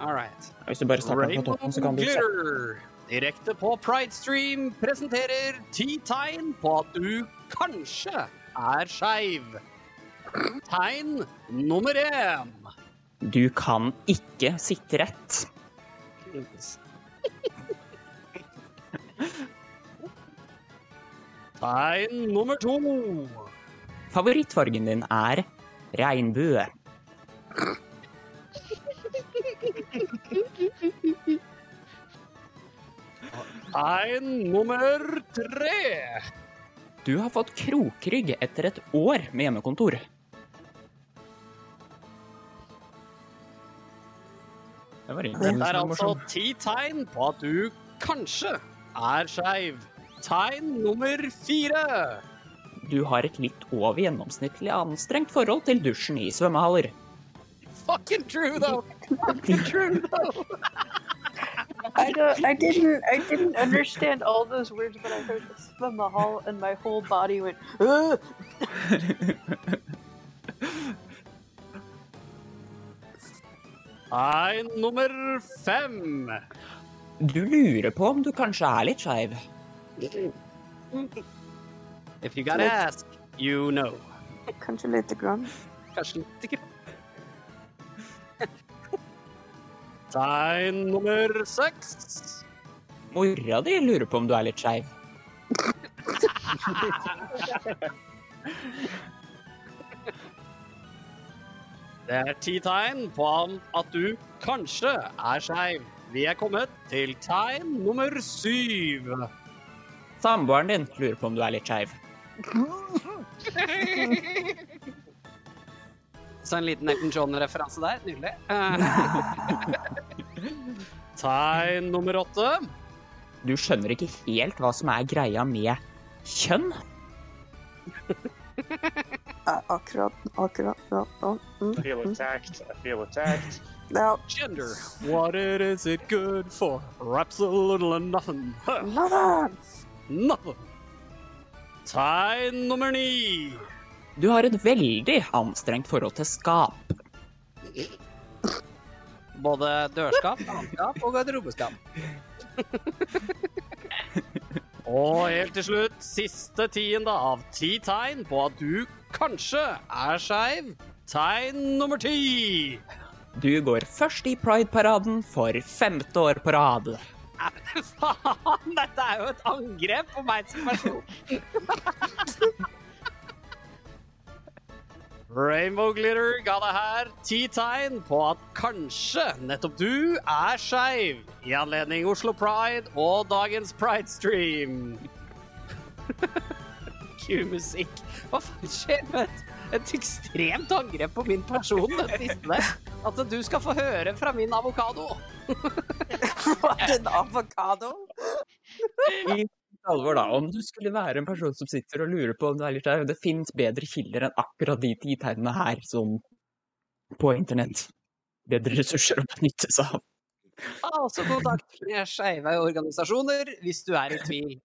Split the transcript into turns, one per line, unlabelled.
All right.
Hvis du bare starter på
Rainbow
toppen, så kan du se.
Glitter, direkte på Pridestream, presenterer ti tegn på at du kanskje er skeiv. Tegn nummer én.
Du kan ikke sitte rett.
Tegn nummer to.
Favorittfargen din er regnbue.
Tegn nummer tre.
Du har fått krokrygg etter et år med hjemmekontor. Det var
Det
ingen.
er altså ti tegn på at du kanskje er skeiv. Tegn nummer fire.
Du har et litt over gjennomsnittlig anstrengt forhold til dusjen i svømmehaller.
Fucking true, though. Fucking true, though.
I don't. I didn't. I didn't understand all those words, but I heard Mahal and my whole body went. uh, Ugh!
Tegn nummer fem.
Du lurer på om du kanskje er litt skeiv.
uh,
If you gotta ask, you know.
Kanskje lite grann.
Kanskje litt ikke. Tegn nummer seks.
Mora di lurer på om du er litt skeiv.
Det er ti tegn på at du kanskje er skeiv. Vi er kommet til tegn nummer syv.
Samboeren din lurer på om du er litt skeiv.
Så en liten Elton John-referanse der. Nydelig. Eh. tegn nummer åtte.
Du skjønner ikke helt hva som er greia med kjønn.
Uh, akkurat. Akkurat. No, no,
I
mm,
feel attacked. I feel attacked.
no.
Gender. What it is it good for? Absolutely nothing. Huh.
Mother!
Nothing. Tegn nummer ni.
Du har et veldig anstrengt forhold til skap.
Både dørskap, landskap og garderobeskap. og helt til slutt, siste tiende av ti tegn på at du kanskje er skeiv. Tegn nummer ti.
Du går først i Pride-paraden for femte år på rad.
Faen, dette er jo et angrep på meg som person. Rainbow Glitter ga deg her ti tegn på at kanskje nettopp du er skeiv i anledning Oslo Pride og dagens Pride-stream. Q-musikk. Hva faen skjer med et, et ekstremt angrep på min person? dette siste der? At du skal få høre fra min avokado.
What an avocado!
Alvor da, Om du skulle være en person som sitter og lurer på om du er litt skeiv, det fins bedre kilder enn akkurat de ti tegnene her, som på internett. Bedre ressurser å benytte seg av.
Ta også kontakt med skeive organisasjoner hvis du er i tvil.